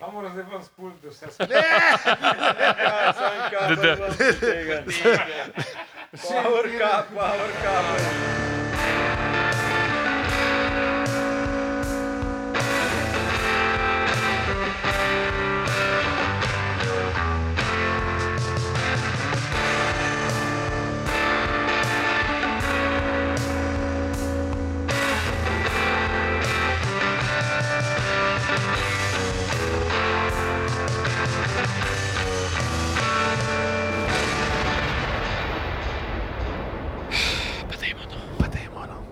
A moram zdaj ven s pultu, vse Ja, sam Da, da. kabel, vas od tega. Power cup, power cup. Pa dajmo, no.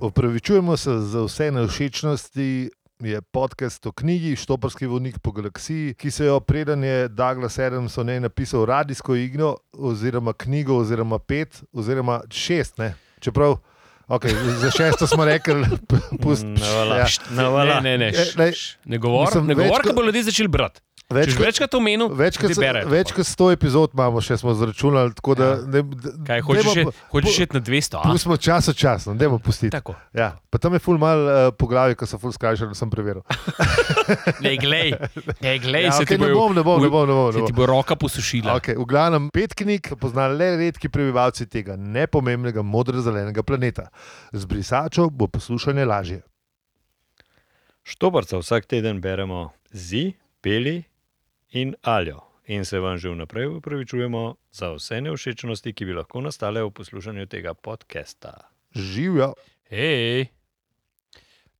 Opravičujemo se za vse neušečnosti. Je podcast o knjigi Štoprski vodnik po galaksiji, ki se jo preden je Douglas Adams o njej napisal radijsko igro, oziroma knjigo, oziroma pet, oziroma šest. Ne? Čeprav okay, za šesto smo rekli, ja. pusti. Navala. Mm, Ne, Navala. ne, ne. E, lej, Ne govori, mislim, ne govor, več ko kot- bo ljudi začel brati. Če Več že kot- večkrat omenil, Več kot, ti berejo to več pol. kot 100 epizod imamo, še smo zračunali. tako Ja. Da, ne, Kaj hočeš, še, hočeš še na 200? A? Pustimo čas od časa, dajmo pustiti. Tako. Ja, pa tam je ful mal uh, poglavje, ko so ful skrajšali, sem preveril. Ne, glej, ne, glej Ja, se ti okej, ne bojo- bom, ne bom, ne bom, ne bom, ne Se ti bom. bo roka posušila. Okay, v glavnem pet knjig poznajo le redki prebivalci tega nepomembnega modro-zelenega planeta. Z brisačo bo poslušanje lažje. Štoparca vsak teden beremo zi, peli in aljo. In se vam že vnaprej upravičujemo za vse neušečnosti, ki bi lahko nastale v poslušanju tega podcasta. Živijo, Hej.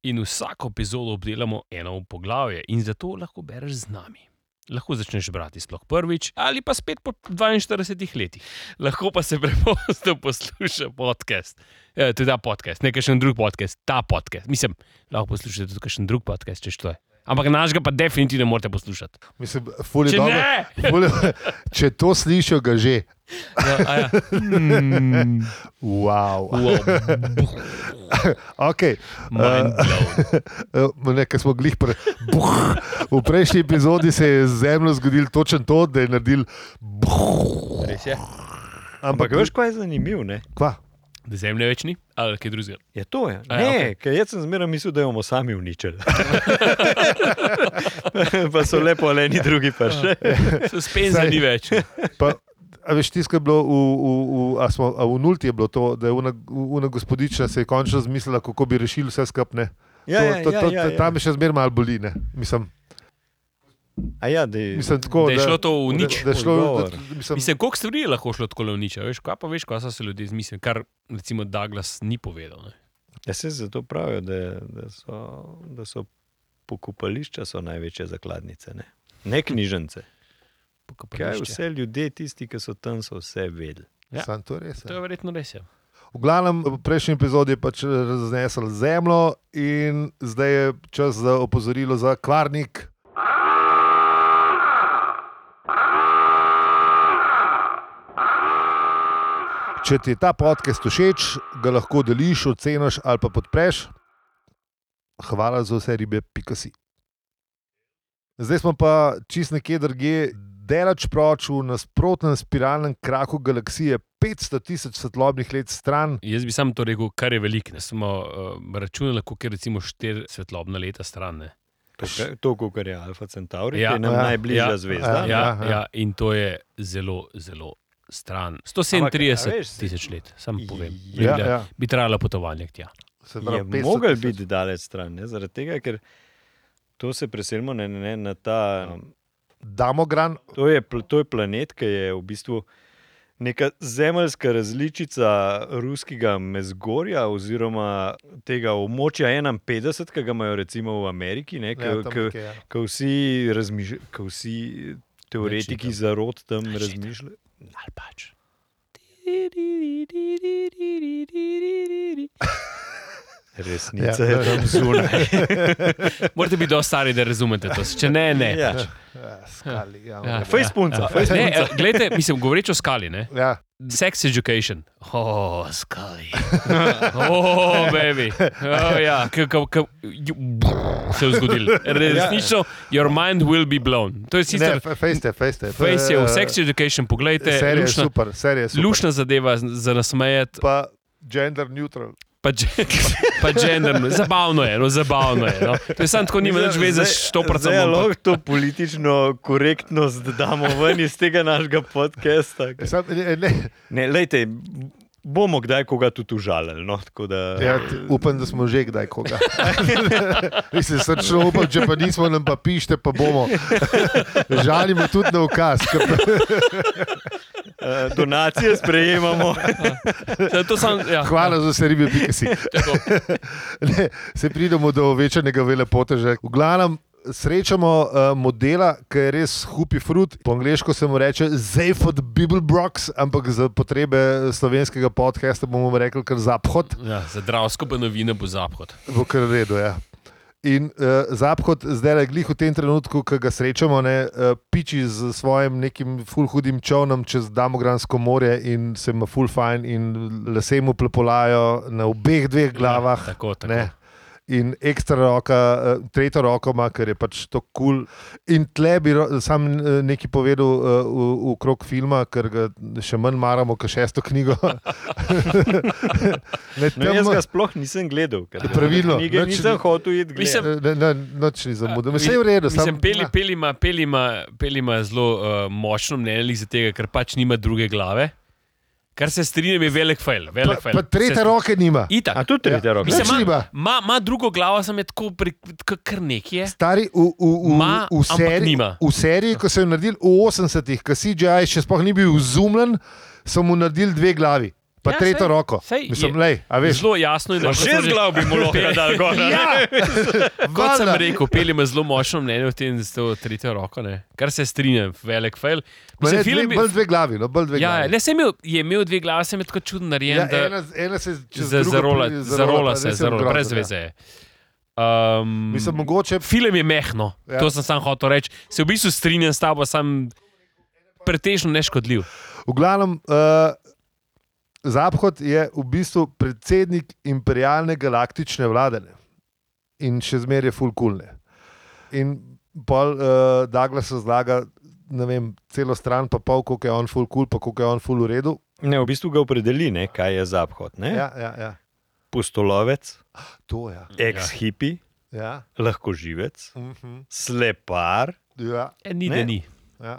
In vsako epizodo obdelamo eno poglavje, in zato lahko bereš z nami. Lahko začneš brati sploh prvič, ali pa spet po 42 letih. Lahko pa se preprosto posluša podcast, e, teda podcast, ne kakšen drug podcast, ta podcast. Mislim, lahko poslušate tudi kakšen drug podcast, če to je. Ampak našega pa definitivno ne morete poslušati. mislim, ful je Če dobro. ne! Ful je, če to slišijo, ga že. Ja, a ja. Mm, Wow. wow, Okay. mind blown. Eh, Ne, ker smo glih pre... buh. V prejšnji epizodi se je z zemljo zgodil točno to, da je naredil. buh. Res je. Ampak Ampak veš, kaj je zanimivo? Ne? kva? Da zemlje več ni, ali kaj drugega. Je to je. A ja, Ne, okay. ker jaz sem zmeraj mislil, da jo bomo sami uničili. pa so lepo le eni drugi pa še. Suspenza Saj- ni več. Pa, a veš, tisto ko je bilo v, v, v, a smo, a v nulti, je bilo to, da je una, una gospodična se je končno zmislila, kako bi rešili vse skupne. Ja, ja, to, to, ja, ja, to, ja. tam je še zmeraj malo boli. ne. Mislim, A ja, da- mislim, tako, Da je šlo to v nič. Da, da je šlo, da, Odgovor. mislim, mislim, Mislim, koliko stvari je lahko šlo tako lovniča, veš, kaj pa veš, kaj so se ljudje izmislili, kar recimo Douglas ni povedal. Ne? Ja, se zato pravijo, da, da, so, da so pokopališča so največje zakladnice, ne, ne knjižnice. Kaj vse ljudje, tisti, ki so tam, so vse vedeli. ja. sam to je res. To je ne. verjetno res. Ja. V glavnem, v prejšnji epizodi je pač raznesel zemljo in zdaj je čas za opozorilo za kvarnik. Če ti je ta podcast všeč, ga lahko deliš, oceniš ali pa podpreš. Hvala za vse ribe, pika si. Zdaj smo pa čist nekje drugje, delač proč v nasprotnem spiralnem kraku galaksije, 500 tisoč svetlobnih let stran. Jaz bi sam to rekel, kar je veliko. Ne smo uh, računali, koliko je recimo 4 svetlobna leta stran. ne. To, ka- To, kar je Alfa Centauri, Ja. ja, ki je nam Ja. ja, najbližja Ja. ja, zvezda. Ja. Ja. Ja, ja, in to je zelo, zelo stran. 137 Ampak, a veš, veš, se- tisoč let, sam povem. Ja, bi, bila- bi trajalo potovanje k tja. Se pravi, Je 500 mogel tisoč. biti daleč stran, ne? zaradi tega, ker to se preselimo na, na, na ta. um, Damo gran, To je, pl- to je planet, ki je v bistvu neka zemeljska različica ruskega mezgorja oziroma tega območja 51, ki ga imajo recimo v Ameriki, ne, ki, ja, ja, tam ki, nekje, ja. ki vsi, razmišlj, ki vsi teoretiki Načitam. zarod tam Načitam. razmišljajo. Ali pač. Resnica Ja. ja. je tam zunaj. Morate biti dovolj stari, da razumete to. Če ne, ne. ja. Ja, skali, ja, Ja. ja. Fejspunca, fejspunca. Ne, gledajte, mislim, govoreč o skali, ne? Ja. Sex education. Oh, skali. Oh, baby. Oh, ja, k, k, k, ju- se je zgodil. Resnično, your mind will be blown. To Ne, je sicer, fe- fejste, fejste. To face je v eh, sex education, pogledajte, Serija je lušna, super, serija je super. lušna zadeva z- za nasmejati. Pa gender neutral. Pa, dž pa gender, zabavno je, no, zabavno je. No. To je samo tako, nima nič veze s to Zdaj predstavo. lahko to politično korektnost damo ven iz tega našega podcasta. Ja. Sam, ne, ne, Ne, lejte, bomo kdaj koga tudi užalili. No, tako da, ja, t- upam, da smo že kdaj koga. Mislim, srčno upam, če pa nismo, nam pa pišite, pa bomo. Žalimo tudi na ukaz. ke pa- eh, donacije sprejemamo. Ja, To sam, ja, Hvala za vse ribe, pika si. Ne, se pridemo do večjega velepoteža. V glavnem srečamo uh, modela, ki je res hupi frut. Po angliško se mu reče Zayford Bibelbrox, ampak za potrebe slovenskega podcasta bomo mu rekli kar zaphod. Ja, za dravsko pa novine bo zaphod. Bo kar v redu, ja. In uh, zaphod zdaj je glih v tem trenutku, ki ga srečamo, ne, uh, piči z svojim nekim fulhudim čovnom čez Damogransko morje in se ima fulfajn in lase mu plepolajo na obeh dveh glavah. Ja, tako, tako. Ne. In ekstra roka, eh, tretjo roko ima, ker je pač to kul. Cool. In tle bi ro- sam eh, nekaj povedal eh, v, v krog filma, ker ga še manj maramo, kot šesto knjigo. ne, No, jaz ga sploh nisem gledal. ker Ja, Pravilno, Knjige nič- nisem hotel iti Mislim- gledati. eh, ne, ne, ne, noč ni zamudil. Vse je v redu, Sam, samo Ja. peli, peli, ima, peli, ima, peli ima zelo uh, močno mnenje glih zaradi tega, ker pač nima druge glave. Kar se strinjam, je velik fail. Pa, Velik fail. pa tretja Se- roke nima. Itak. A tudi tretja Ja. roka. Mislim, Mislim, Nič ima, nima. ima, ima drugo glavo, sem je tako pri, k- kar nekje. Stari v, v, v, Ma, v, ampak seriji, nima. v seriji, ko so jo naredili v 80-ih, ko CGI še sploh ni bil izumljen, so mu naredili dve glavi, pa Ja, ja, tretjo sej- roko. sej Mislim, je- lej, a veš, Zelo jasno je, da Pa Šest glav bi mu lahko dal gor. a ne? Ja, Kot sem valjda. rekel, peli ima zelo močno mnenje o tem, s to tretjo roko, ne. kar se strinjam, velik fail. Ma Mislim, ne, film dve, je- bolj dve glavi. No, bolj dve Ja, ja, glavi. ne, sem imel, je imel dve glave, sem je tako čudno narejen. ja, da- ena, ena se čez za, drugo zarola, pri- zarola pa se, res je zarola, ogromno, brez ja. veze. je. Um, Mislim, mogoče film je mehko, Ja. ja. to sem sam hotel reči. Se v bistvu strinjam s tabo, sem pretežno neškodljiv. V glavnem, uh, Zahod je v bistvu predsednik imperialne galaktične vlade ne. in še zmeraj je fulkulne. In pol uh, Douglas razlaga ne vem, celo stran, pa pol, koliko je on fulkul, pa koliko je on ful v redu. Ne, v bistvu ga opredeli, ne, kaj je zaphod. Ne? Ja, ja, ja. Pustolovec, To je. ex-hipi, Ja. lahko živec, Uh -huh. slepar. ja, E, ni, Ne. da ni. ja.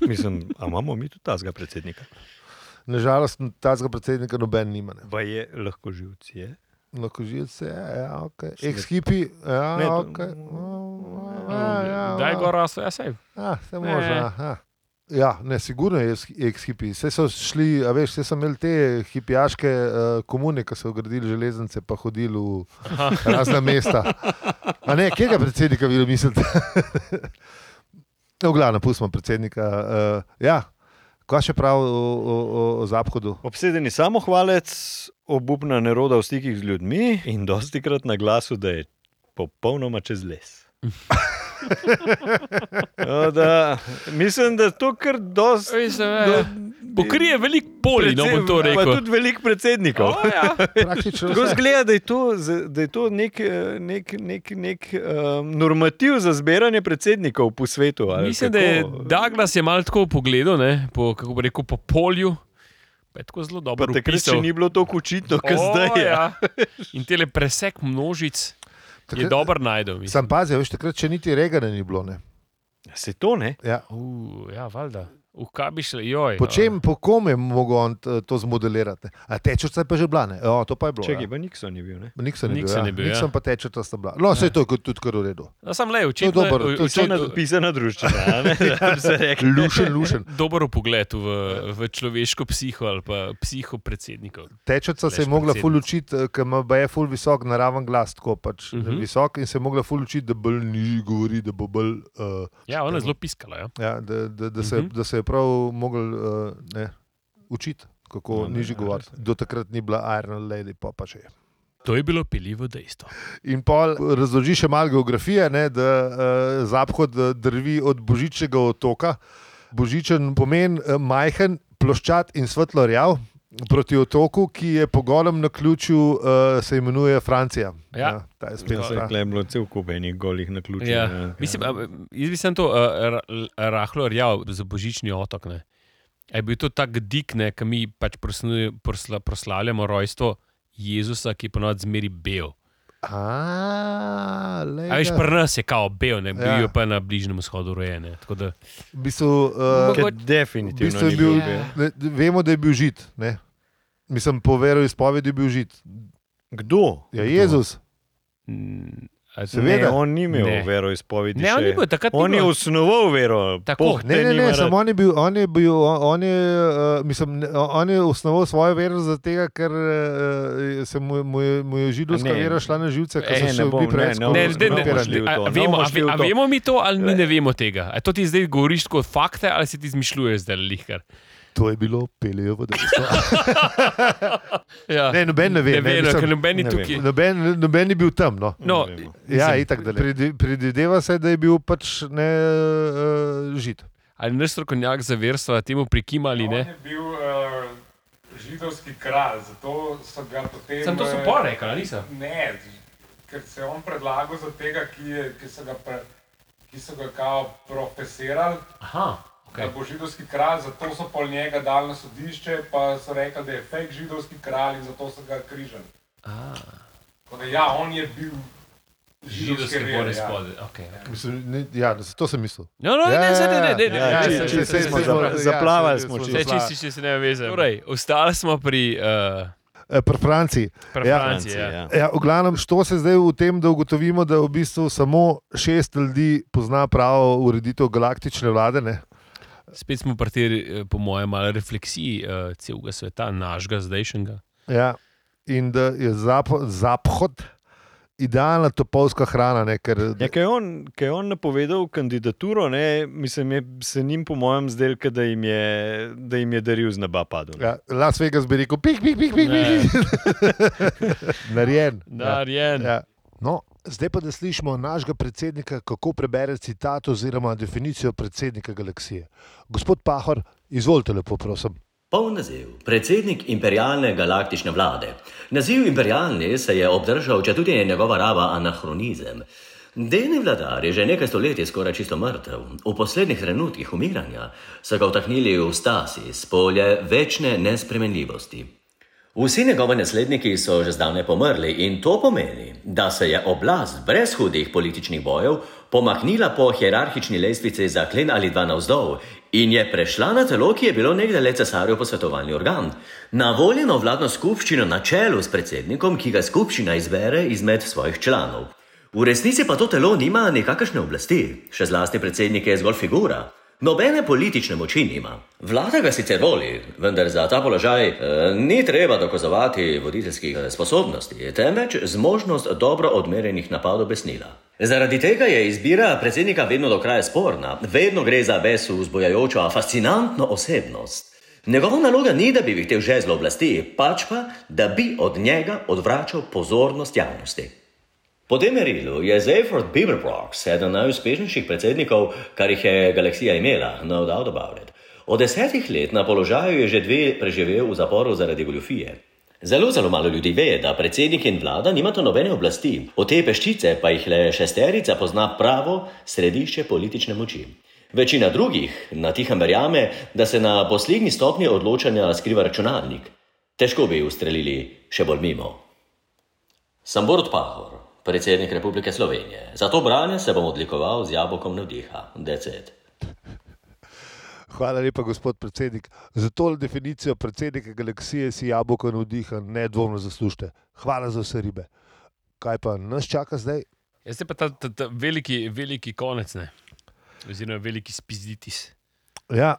Mislim, a imamo mi tudi tazga predsednika. Nažalost, tega predsednika noben nima. Ne. Pa je lahko živec. Je. Lahko že vse, ja, ok. Slep. Ex-hipi, ja, Ne, to- ok. Ja, ja, Daj ja. gor, rasa, ja, sej. Ja, se Ne. može. aha. Ja, ne, sigurno je ex-hipi. Vse so šli, a veš, vse so imeli te hipijaške uh, komune, ki so gradili železnice, pa hodili v razna mesta. A ne, kega predsednika vi mislite? no, glavno, pustimo predsednika. Uh, ja, kaj še prav o, o, o, o Zaphodu? Obsedeni samohvalec, obupna neroda v stikih z ljudmi in dosti krat na glasu, da je popolnoma čez les. No, da, mislim, da to kar dosti. Mislim, ja, ja. Pokrije veliko polj, no bom to predvsem- Pa rekel. tudi velik predsednikov. O, ja. Praktično Tako vse. zgleda, da je to, z- da je to nek, eh, nek, nek, nek um, normativ za zbiranje predsednikov po svetu. ali Mislim, da kako? je Douglas je malo tako pogledal, ne, po, kako bi rekel, po polju. Pa je tako zelo Pa dobro. takrat še opisal. ni bilo tako očitno, kot O, zdaj je. ja. In tele presek množic je Takrat- dober najdel. mislim. Sam pazi, a veš, takrat še niti Regana ni bilo. Ne? Se to ne? Ja. Uh, ja, valjda. V kaj bi šli, joj. no. Po, čem, po kom je mogel on t- to zmodelirati? ne? A tečrca je pa že bila, ne? O, to pa je bilo. ja. Čekaj, pa Nixon je bil. Ne? Nixon je Nixon bil, je bil, ja. ja. Nixon pa teče, to sta bila. No, vse to je kot- tudi kar v redu. Ja, sam le, očitno To je dober, o- to je Vse je očitno- napisano družina. Ja, Lušen, lušen. Dober pogled v, v človeško psiho ali pa psiho predsednikov. Tečeca se je Leš mogla ful predsednica. učiti, eh, ker ima baje ful visok naraven glas, tako pač uh -huh. Mhm. visok in se je mogla ful učiti, da bolj niži govori, da bo bolj. Uh, Ja, ona je zelo piskala. Ja. ja, da, da, da, se, uh Mhm. -huh. da se je prav mogel uh, ne, učiti, kako No, no, ne, nižji ja, govoriti. Do takrat ni bila Iron Lady, pa pa še je. To je bilo peljivo dejstvo. In pol razloži še malo geografije, ne, da uh, Zahod drvi od Božičnega otoka. Božičen pomeni eh, majhen, ploščat in svetlo rjav. Proti otoku, ki je po golem na ključu, uh, se imenuje Francija. Ja. ta je spet Vse ta. je bilo cel kup enih golih na ključu. Ja. Mislim, a, jaz bi sem to uh, rahlo rjav za božični otok. Ne. A je bil to tak dik, ne, ki mi pač prosnuje- prosla, proslavljamo rojstvo Jezusa, ki je ponovadi zmeri bel. A, lej, A veš, ga. pri nas je kao bel, ne Ja. bil je pa na bližnjem vzhodu rojen. ne, tako da- v bistvu, uh, Ker Mogoče- v definitivno bistvu je ni bil. bil, bil. Ja. ne, vemo, da je bil žid. Ne? Mislim, po veru izpovedi je bil žid. Kdo? Ja, Kdo? Jezus. Mm, a- Se- Seveda. Ne, on ni imel Ne. veroizpovedi. Ne, on še. ni bil, takrat ni On je bilo. osnoval vero. Tako. Bog te Ne, ne, ne, nima rad. samo on je bil, on je, bil, on, on je, uh, mislim, ne, on je osnoval svojo vero zaradi tega, ker uh, se mu, mu, je, mu je židovska Ne. vera šla na živce, ker E, so ne še bom, bili ne, preveč ne, Ne, boš- zdaj ne ne boš skorumpirani. šli v A- to, a ne vemo, boš a šli ve- v a to. vemo mi to, ali mi ne vemo tega. A to ti zdaj govoriš kot fakte, ali si ti izmišljuješ zdaj lihkar. To je bilo pelejo v dejstvo. Ja. Ne, noben ne ve. ne vem, mislim, ker noben ni ne tukaj. noben, noben ni bil tam. No. No, Ne vemo. Ja, Mislim, itak, da ne. pri- Predi- Predvideva se, da je bil pač ne uh, žid. Ali naš strokovnjak za verstva temu prikima ali On ne? je bil uh, židovski kralj, zato so ga potem. Sem to eh, so porekal, ali nisem? Ne, ker se je on predlagal za tega, ki, je, ki, so, ga pre, ki so ga kao profesirali, Aha, okay. okay. da bo židovski kralj, zato so pol njega dali na sodišče, pa so rekli, da je fake židovski kralj in zato so ga križali. Ah, Tako da ja, on je bil židovski židovske kralj. bore Ja. spode. Okay, okay. Mislim, ne, ja, zato sem mislil. No, no, ne, zdaj ne, ne, ne, ne, Ja, ne, čisto, ne, čisto, ne, čisto ne, smo ne, za- ne. zapra- zaplavali smo čisto. čisto. Zdaj čisti, če se ne veze. Torej, ostali smo pri uh, Pri Franciji. Ja. Franciji. Ja. Ja. Ja, v glavnem, što se zdaj v tem, da ugotovimo, da v bistvu samo šest ljudi pozna pravo ureditev galaktične vlade. Ne? Spet smo pri tej, eh, po mojem, malo refleksiji uh, celega sveta, našega, zdajšnjega. Ja. In da je zapo- zaphod idealna topovska hrana. Ne? Ker, Ja, ker je on, ker je on napovedal kandidaturo, ne, mislim, je se njim, po mojem, zdel, da jim je, da jim je daril z neba padel. ne. ja, Las Vegas bi rekel, pik, pik, pik, pik, pik. Narejen. Darjen. Ja. No, zdaj pa da slišimo našega predsednika, kako prebere citat oziroma definicijo predsednika galaksije. Gospod Pahor, izvolite lepo, prosim. Poln naziv: predsednik imperialne galaktične vlade. Naziv imperialni se je obdržal, če tudi je njegova raba anahronizem. Deni vladar je že nekaj stoletij skoraj čisto mrtev, v poslednjih trenutkih umiranja so ga vtahnili v stasis, polje večne nespremenljivosti. Vsi njegovi nasledniki so že zdavne pomrli in to pomeni, da se je oblast brez hudih političnih bojev pomaknila po hierarhični lestvici za klen ali dva navzdol in je prešla na telo, ki je bilo nekdaj le cesarjev posvetovalni organ, na voljeno vladno skupščino na čelu s predsednikom, ki ga skupščina izbere izmed svojih članov. V resnici pa to telo nima nikakršne oblasti, še zlasti predsednik je zgolj figura. Nobene politične moči nima. Vlada ga sicer voli, vendar za ta položaj eh, ni treba dokazovati voditeljskih eh, sposobnosti, temveč zmožnost dobro odmerjenih napadov besnila. Zaradi tega je izbira predsednika vedno do kraja sporna, vedno gre za besu vzbojajočo, fascinantno osebnost. Njegova naloga ni, da bi vihtel žezlo oblasti, pač pa, da bi od njega odvračal pozornost javnosti. Po tem merilu je Zayford Beaverbrox eden najuspešnejših predsednikov, kar jih je galaksija imela, no doubt about it. Od desetih let na položaju je že dve preživel v zaporu zaradi goljufije. Zelo, zelo malo ljudi ve, da predsednik in vlada nimata nobene oblasti, od te peščice pa jih le šesterica pozna pravo središče politične moči. Večina drugih na tihem verjame, da se na poslednji stopnji odločanja skriva računalnik. Težko bi ustrelili še bolj mimo. Sem Borod Pahor, predsednik Republike Slovenije. Za to branje se bom odlikoval z jabolkom navdiha, decet. Hvala lepa, gospod predsednik. Za to definicijo predsednika galaksije si jabolko navdiha, nedvomno zaslužite. Hvala za vse ribe. Kaj pa nas čaka zdaj? Jaz pa ta, ta, ta veliki, veliki konec, ne? oziroma veliki spizditis. Ja.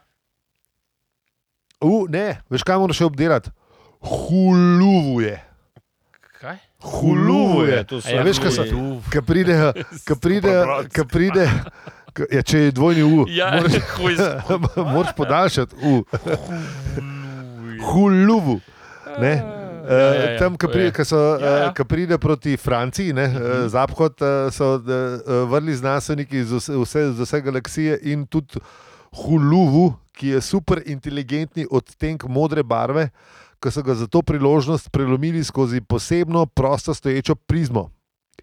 U, ne, veš kaj moraš še obdelati? Huluvuje. Kaj? Huluvuje. To so A ja, veš, kaj so- Ki pride, ki pride, ki pride. ke- Ja, če je dvojni U, Ja, moraš, huj, moraš podaljšati U. Huluvu. Ne? Ja, ja, Eh, ja, Tam, ki to pride, je. ki so, Ja, Mhm. ja. eh, ki pride proti Franciji, ne, eh, zaphod eh, so eh, vrli znanstveniki iz vse, vse, z vse galaksije in tudi Huluvu, ki je super inteligentni odtenek modre barve, ki so ga za to priložnost prelomili skozi posebno prosto stoječo prizmo.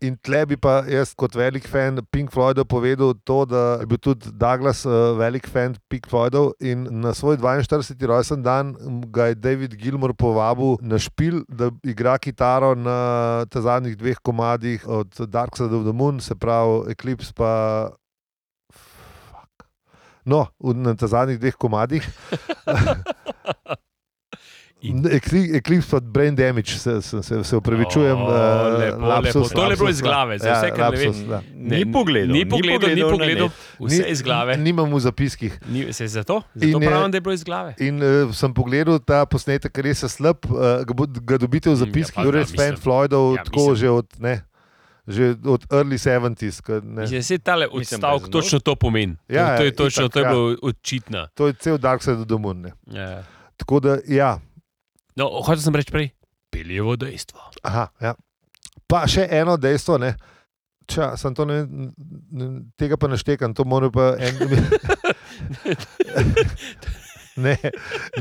In tle bi pa jaz, kot velik fan Pink Floydov, povedal to, da je bil tudi Douglas eh, velik fan Pink Floydov in na svoj 42. rojsten dan ga je David Gilmour povabil na špil, da igra kitaro na ta zadnjih dveh komadih od Dark Side of the Moon, se pravi Eclipse pa. Fuck. No, v- na ta zadnjih dveh komadih. In- Ekli- Eclipse pa Brain Damage, se, se, se, se upravičujem. O, eh, lepo, lepo. Tole je bilo iz da. glave, za vse, kar ne vem. da. Ni pogledal, Ni pogledal, ni na pogledal net. vse Ni- iz glave. Nimam v zapiskih. Ni, se zato zato In je- pravim, da je bilo iz glave. In uh, sem pogledal ta posnetek, ker res je slab, uh, ga, bo- ga dobite v Ja, zapiskih, pa ja, da, res mislim. fan Floydov, Ja, ja, tako mislim. že od, ne, že od early 70s. ko ne. Mislim, da se tale Mislim, odstavek brez nog. točno to pomeni. Ja, to, to je ja, točno, itak, to je ja. bilo očitno. To je cel Dark Side of the Moon. Ne. Ja. Tako da, ja, No, hotel sem reči prej, peljevo dejstvo. aha, ja. Pa še eno dejstvo, ne. Ča, sem to ne, ne, tega pa naštekam, to mora pa en. ne,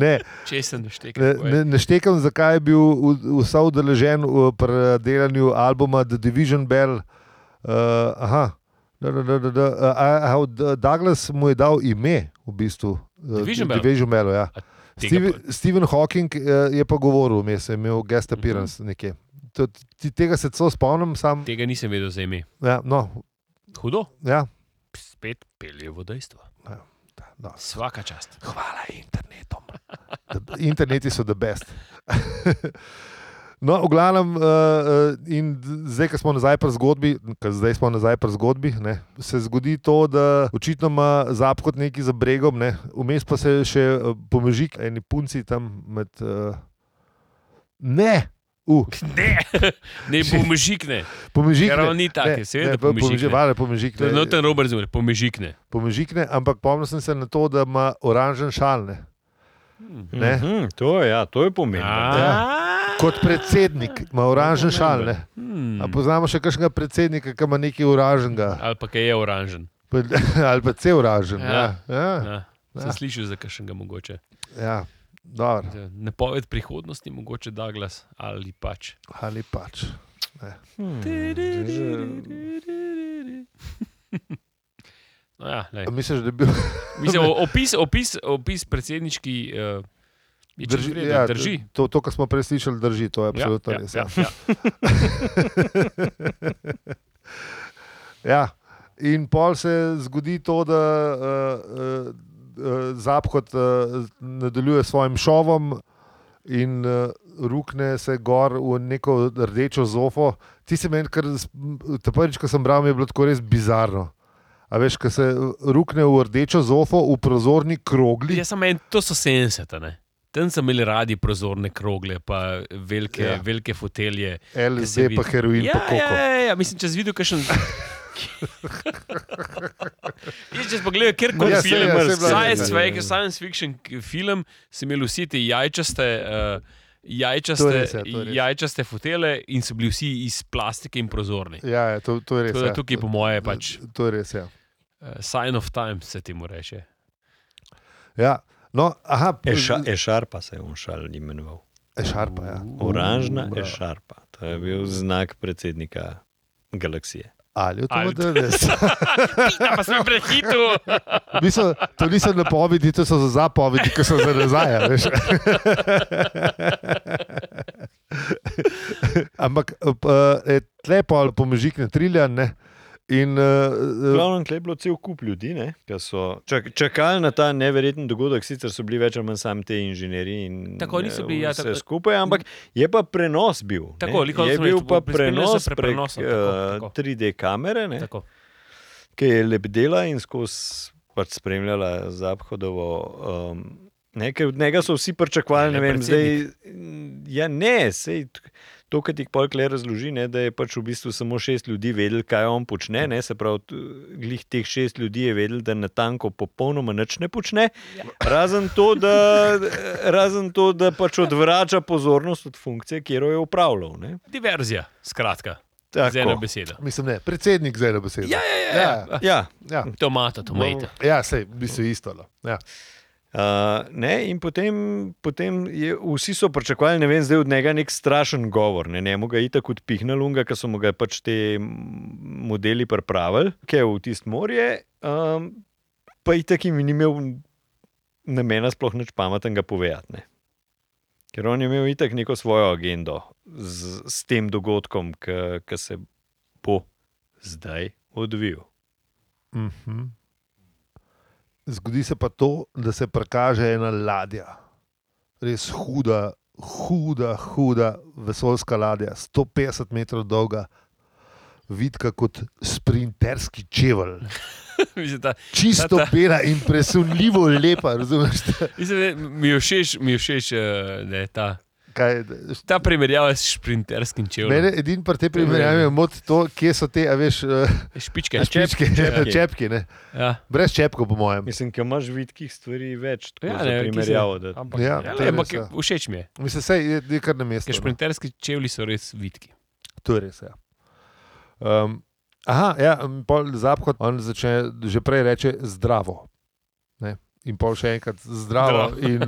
ne. Če sem naštekel, Ne, ne, ne štekam, zakaj je bil v- vsa udeležen v- pri delanju albuma The Division Bell. Uh, aha, da, da, da, da, da. A, a, a, D- Douglas mu je dal ime, v bistvu. eh, Division D- Bell? Division Bell ja. A Steve, tega Stephen Hawking eh, je pa govoril, vmes, je imel Mhm. guest appearance uh -huh. nekje. To, ti, tega se celo spomnim, sam. tega nisem vedel za ime. Ja, no, Hudo, ja, spet peljevo dejstvo. no. Vsaka čast. Hvala internetom. The- Interneti so the best. No, v glavnem, eh, eh, in d- zdaj, ko smo nazaj pri zgodbi, ker zdaj smo nazaj pri zgodbi, ne, se zgodi to, da očitno ima zapkot neki za bregom, ne, vmes pa se še eh, pomeži k eni punci tam med. eh, Ne! Uh, Ne, ne pomežikne, pomežikne. ker on ni tak, seveda pomežikne. Vale, pomežikne, No, ten Robert zmore, pomežikne. pomežikne, ampak spomnil sem se na to, da ima oranžen šal. Ne. Hmm. Ne. Mhm, to, je, ja, to je pomembno. Kot predsednik ima oranžen šal. Ne. Hmm. A poznamo še kakšnega predsednika, ki ima nekaj uraženega, Ali pa kaj je oranžen. ali pa cel uražen. Ja. Ja. Ja. Ja. Sem slišal za kakšnega mogoče. Ja. Dobro, Ja, Napoved prihodnosti, mogoče Douglas ali pač. ali pač. No, ja, lej. A Misliš, da bi bil Mislim, o- opis, opis, opis predsednički uh, je čist v redu, ja, drži. To, to kar smo prej slišali, drži. To je absolutno ja, res. ja, Ja. ja. Ja. In pol se zgodi to, da uh, uh, Zapkot uh, nadaljuje s svojim šovom in uh, rukne se gor v neko rdečo zofo. Ti si meni, ker te prvič, ko sem bral, mi je bilo tako res bizarno. A veš, ko se rukne v rdečo zofo, v prozorni krogli. Jaz sem en, to so 70. Ne? Tam so imeli radi prozorne krogle, pa velike, ja. Ja. velike fotelje. da se LSD, vidi. pa heroin, ja, pa koko. ja, ja, ja, mislim, če si videl, kaj še. Če si pogledal, kjer Ma koli ja, saj, film, ja, saj je bila ja. science, neka- fake, science fiction k- film, si imel vsi ti jajčaste. Uh, To je Jajčaste, res, ja, to je res. jajčaste fotele in so bili vsi iz plastike in prozorni. Ja, ja, to, to je res. Tako da ja. tukaj, po moje, je pač To je res. Ja. uh, sign of time se temu reče. Ja. No, aha, Eša, ešarpa e se je umšal imenoval. Ešarpa, ja. Oranžna ešarpa. To je bil znak predsednika galaksije. Ali je to Ali- bilo res? Ja, pa sem prehitro. Niso, to niso napovedi, to so za zapovedi, ki so za nazaj. a veš. Ampak eh, tle pa pomežik ne triljan. Ne? In, V uh, glavnem, tukaj je bilo cel kup ljudi, ne, ki so čak, čakali na ta neverjeten dogodek. Sicer so bili več ali manj sami ti inženirji in eh, Tako, niso bili, ja, vse tako- skupaj, ampak je pa prenos bil. ne. Tako, lihko je sem rekel, bil pa prispeli so prenos pre- prek prenosom, tako, eh, tako. 3D kamere, ne, Tako. ki je lebdela in skozi pač spremljala zahodovo. Um, ne, ker od njega so vsi pričakovali, Ne, ne vem, zdaj. predsednik. Ja, ne, sej, to, kar ti polkle razloži, ne, da je pač v bistvu samo šest ljudi vedelo, kaj on počne. Ne, se pravi, t- glih teh šest ljudi je vedelo, da na tanko popolnoma nič ne počne, razen to, da, razen to, da pač odvrača pozornost od funkcije, ki jo je upravljal. Ne. Diverzija, skratka, z eno Tako. besedo. mislim, ne, predsednik za eno besedo. Ja, ja, ja. ja. Ja, ja. Tomata, tomata. ja sej, mislim, isto. no. Ja. Uh, ne, in potem, potem je, vsi so pričakovali, ne vem, zdaj od njega nek strašen govor. Ne, ne, ga je tako odpihnil, unga, ki so mu ga pač te modeli pripravili, ki je v tisto morje, um, pa je tako jim ni imel namena sploh nič pametnega povedati. Ne. Ker on je imel itak neko svojo agendo z, s tem dogodkom, ki se bo zdaj odvil. Uh -huh. Zgodi se pa to, da se prikaže ena ladja, res huda, huda, huda vesoljska ladja, 150 metrov dolga, vidka kot sprinterski čevelj. Mislim, da Čisto Ta- ta- bela in presunljivo lepa, razumeš? mislim, da mi je všeč, mi je všeč eh, ne, ta, Kaj, je- ta primerjava s šprinterskim čevljem. mene edin pri tej primerjavi je moti to, kje so te, a veš, Eh, Špičke. čepke, čepke, čepki. čepki. čepki ne? Ja. brez čepkov, po mojem. Mislim, da imaš vidkih stvari več, tako Ja, ja, ne, ne, ki se- primerjavo. Da, Ampak, Ja, ja, to le, je ampak res, ja. všeč mi je, Mislim, sej, je, je kar na mestu. ker no. šprinterski čevlji so res vitki. To je res. Ja. Um, aha, ja, um, pol zapkot, on začne že prej reče zdravo. Ne? In pol še enkrat zdravo. In,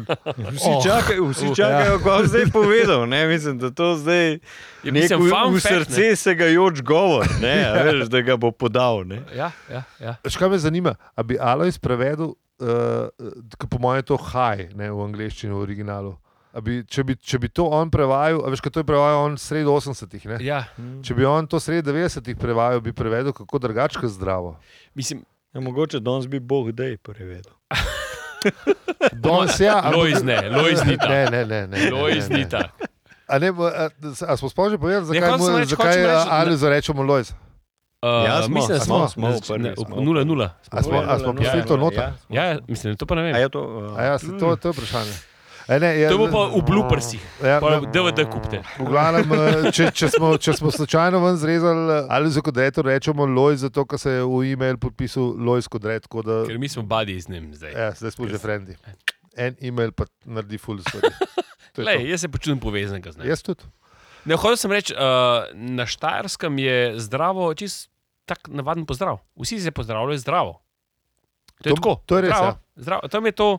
vsi, Oh. čakajo, vsi Uh, čakajo, kaj bo zdaj povedal. Ne? Mislim, da to zdaj Je nek Ja, mislim, v, fun v fact, ne. srce segajoč govor, ne, a veš, da ga bo podal. Ne? Ja, ja, ja. Veš, kaj me zanima, ali bi Alois prevedel, uh, po mojem, je to haj ne, v angleščini, v originalu. A Bi, če, bi, če bi to on prevajal, a veš, kaj to je prevajal on sredi 80-ih. ne? ja. Če bi on to sredi 90-ih prevajal, bi prevedel kako drugačka zdravo. Mislim, Ja, mogoče danes bi Bog dej prevedel. Danes ja, ampak- Lojz ne, Lojz ni tak. Ne, ne, ne. ne, Lojz ne, ni ne. tak. A ne, bo- a, a smo sploh že povedali, zakaj, hotel mu, Ja, sem reči, zakaj hočem reči, ali zarečemo Lojz? Uh, Ja, smo, mislim, da smo, smo v prvi, ne, smo v prvi. 0-0. A smo, a smo prišli to noter? Ja, ja, mislim, to pa ne vem. A je to, A a, Ja, se, to, to je vprašanje. E, ne, ja, To bo pa v bloopersih, Ja, pa ne, DVD kupite. v glavnem, eh, če, če, smo, če smo slučajno ven zrezali ali za kodreto, rečemo Lojz, zato ker se je v e-mail podpisal Lojz kodret. tako Da, Ker mi smo badi z njim zdaj. ja, zdaj smo že frendi. En e-mail pa naredi full stvari. To je Lej, jaz se počutim povezanega z to. njim. Jaz tudi. Ne, hotel sem reči, uh, na Štajerskem je zdravo, čist tak navaden pozdrav. Vsi se pozdravljajo zdravo. To je To- tako. to je res, zdravo, ja. zdravo. Tam je to,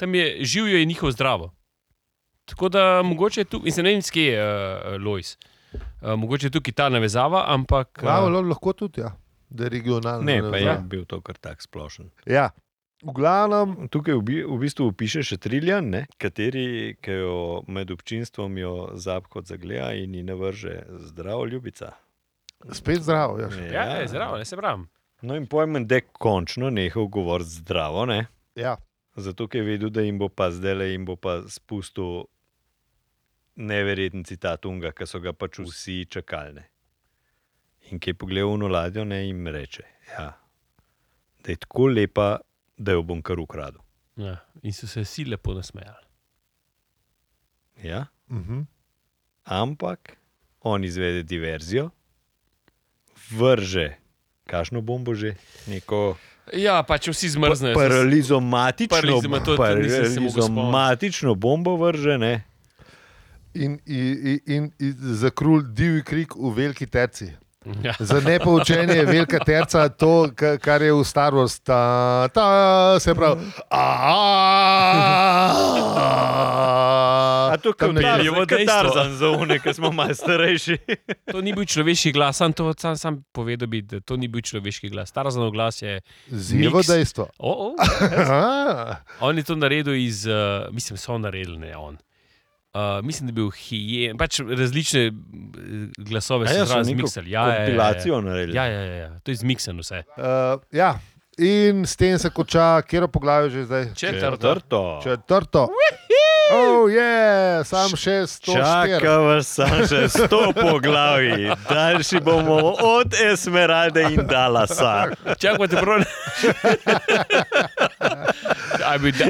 tam je živijo in njihovo zdravo. Tako da mogoče je tu, in se ne vem, iz kje je uh, Lois. Uh, mogoče je tukaj ta navezava, ampak. eh, Malo, lahko tudi, ja. da je regionalno. ne, pa je ja. bil to kar tak splošen. ja. V glavnem, Tukaj v, bi, v bistvu piše še triljan, ne? kateri ki jo med občinstvom jo zapkot zagleda in ji navrže zdravo, ljubica. spet zdravo. Ja. ja, ja, zdravo, ne se pravim. No in pojmen, da je končno nehal govoriti zdravo, ne? Ja. zato ker je vedel, da jim bo pa zdaj le jim bo pa spustil neverjeten citat Unga, ki so ga pač vsi čakalne. In ki je pogledal v ladjo, ne jim reče, ja, da je tako lepa, da jo bom kar ukradel. Ja. In so se vsi lepo nasmejali. Ja? Uh -huh. ampak on izvede diverzijo, vrže, kašno bombo že, neko Ja, pač vsi zmrznejo. paralizomatično, Paralizoma- to- to nisem se mogel paralizomatično bombo vrže. Ne? In, in, in, in za krul divji krik v veliki terci. Ja. Za nepoučenje je velika terca to, ka- kar je v Star Wars, ta, ta se pravi. A A to Tam nekje. Katarza. Peljevo je katarzan za une, ki smo malo starejši. To ni bil človeški glas, sam, to, sam, sam povedal bi, da to ni bil človeški glas. Tarzanov glas je. Zelo Miks. dejstvo. Oh, oh. A, On je to naredil iz, uh, mislim, so naredili, ne on. Uh, mislim, da je bil hijen, pač različne eh, glasove Ja, so zraven zmiksali. Ja, ja, ja, ja. kompilacijo naredili. ja, ja, ja, ja, to je zmiksen vse. eh, ja. In s tem se konča, kjer poglavje že zdaj. Četrto. Četrto. Četrto. Oh, yeah. Sam še 104. Čaka vas samo še sto poglavij, daljši bomo od Esmeralde in Dalasa. Čakaj, te prav. Aj bi da.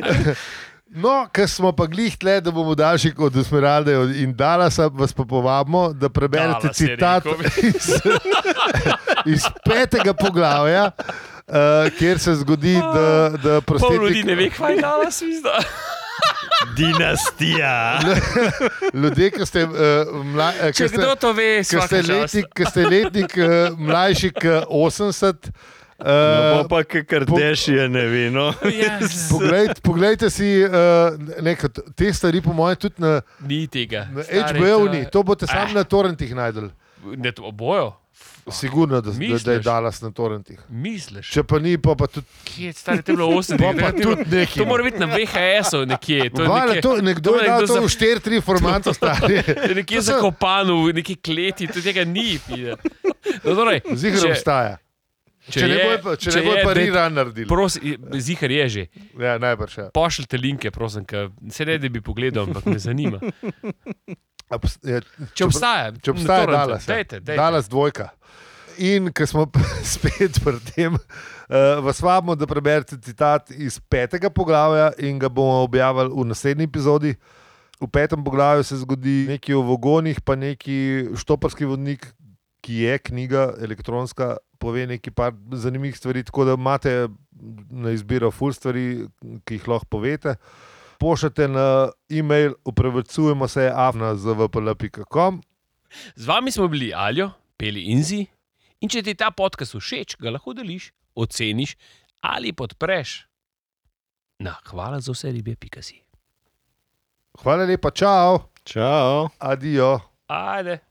No, ker smo pa glih tle, da bomo daljši kot Esmeralda in Dalasa, vas pa povabimo, da preberete Dallas je citat rekel. iz, iz petega poglavja, uh, kjer se zgodi, da, da Pol ljudi ne prostetnik, ve, kaj je dala svizda. Dinastija. ljudje, ki ste, uh, mla, eh, ki Če ste, kdo to ve, ki ste eh, svaka čast. letnik, ki ste letnik uh, mlajši kot 80. No, pa kar po- deš je no. nevino. Ja, Poglejte, poglejte si, uh, nekaj, te stvari, po mojem, tudi na, Ni tega. na Stari, HBO, ni. to boste Ah. sami na torrentih najdel. Ne, to obojo. Sigurno, da, da, da je Misliš? Dallas na torrentih. Misliš? Če pa ni, pa, pa tudi Kje je stari, to je bilo 8 Pa pa tudi nekaj. To mora biti na VHS-u nekje. To je Vale, nekje, to, nekdo je je dal to za- v 4-3 formatu stari. je Nekje To so- zakopano, v neki kleti, to tega ni. pide. No, torej, Zihar obstaja. Če, če ne bojo pa, če če boj pa dajte- rerun naredili. Prosi, zihar je že. Ja, najbrž. Ja. Pošljite linke, prosim, ker se ne da bi pogledal, ampak me zanima. A pos- je- Če obstaja, Če obstaja na torrentu, Dallas, ja. dajte, dajte. Dallas dvojka. In ker smo spet pri tem, uh, vas vabimo, da preberete citat iz petega poglavja in ga bomo objavili v naslednji epizodi. V petem poglavju se zgodi nekaj o vogonih, pa neki štoparski vodnik, ki je knjiga elektronska, pove nekaj par zanimivih stvari, tako da imate na izbiro full stvari, ki jih lahko povete. Pošljete na e-mail, upravičujemo se, afna.zvpl.com. Z vami smo bili Aljo, Peli Inzi. In če ti je ta podcast všeč, ga lahko deliš, oceniš ali podpreš. Na, hvala za vse ribe, pika si. Hvala lepa, čau, Čau. adijo. Ajde.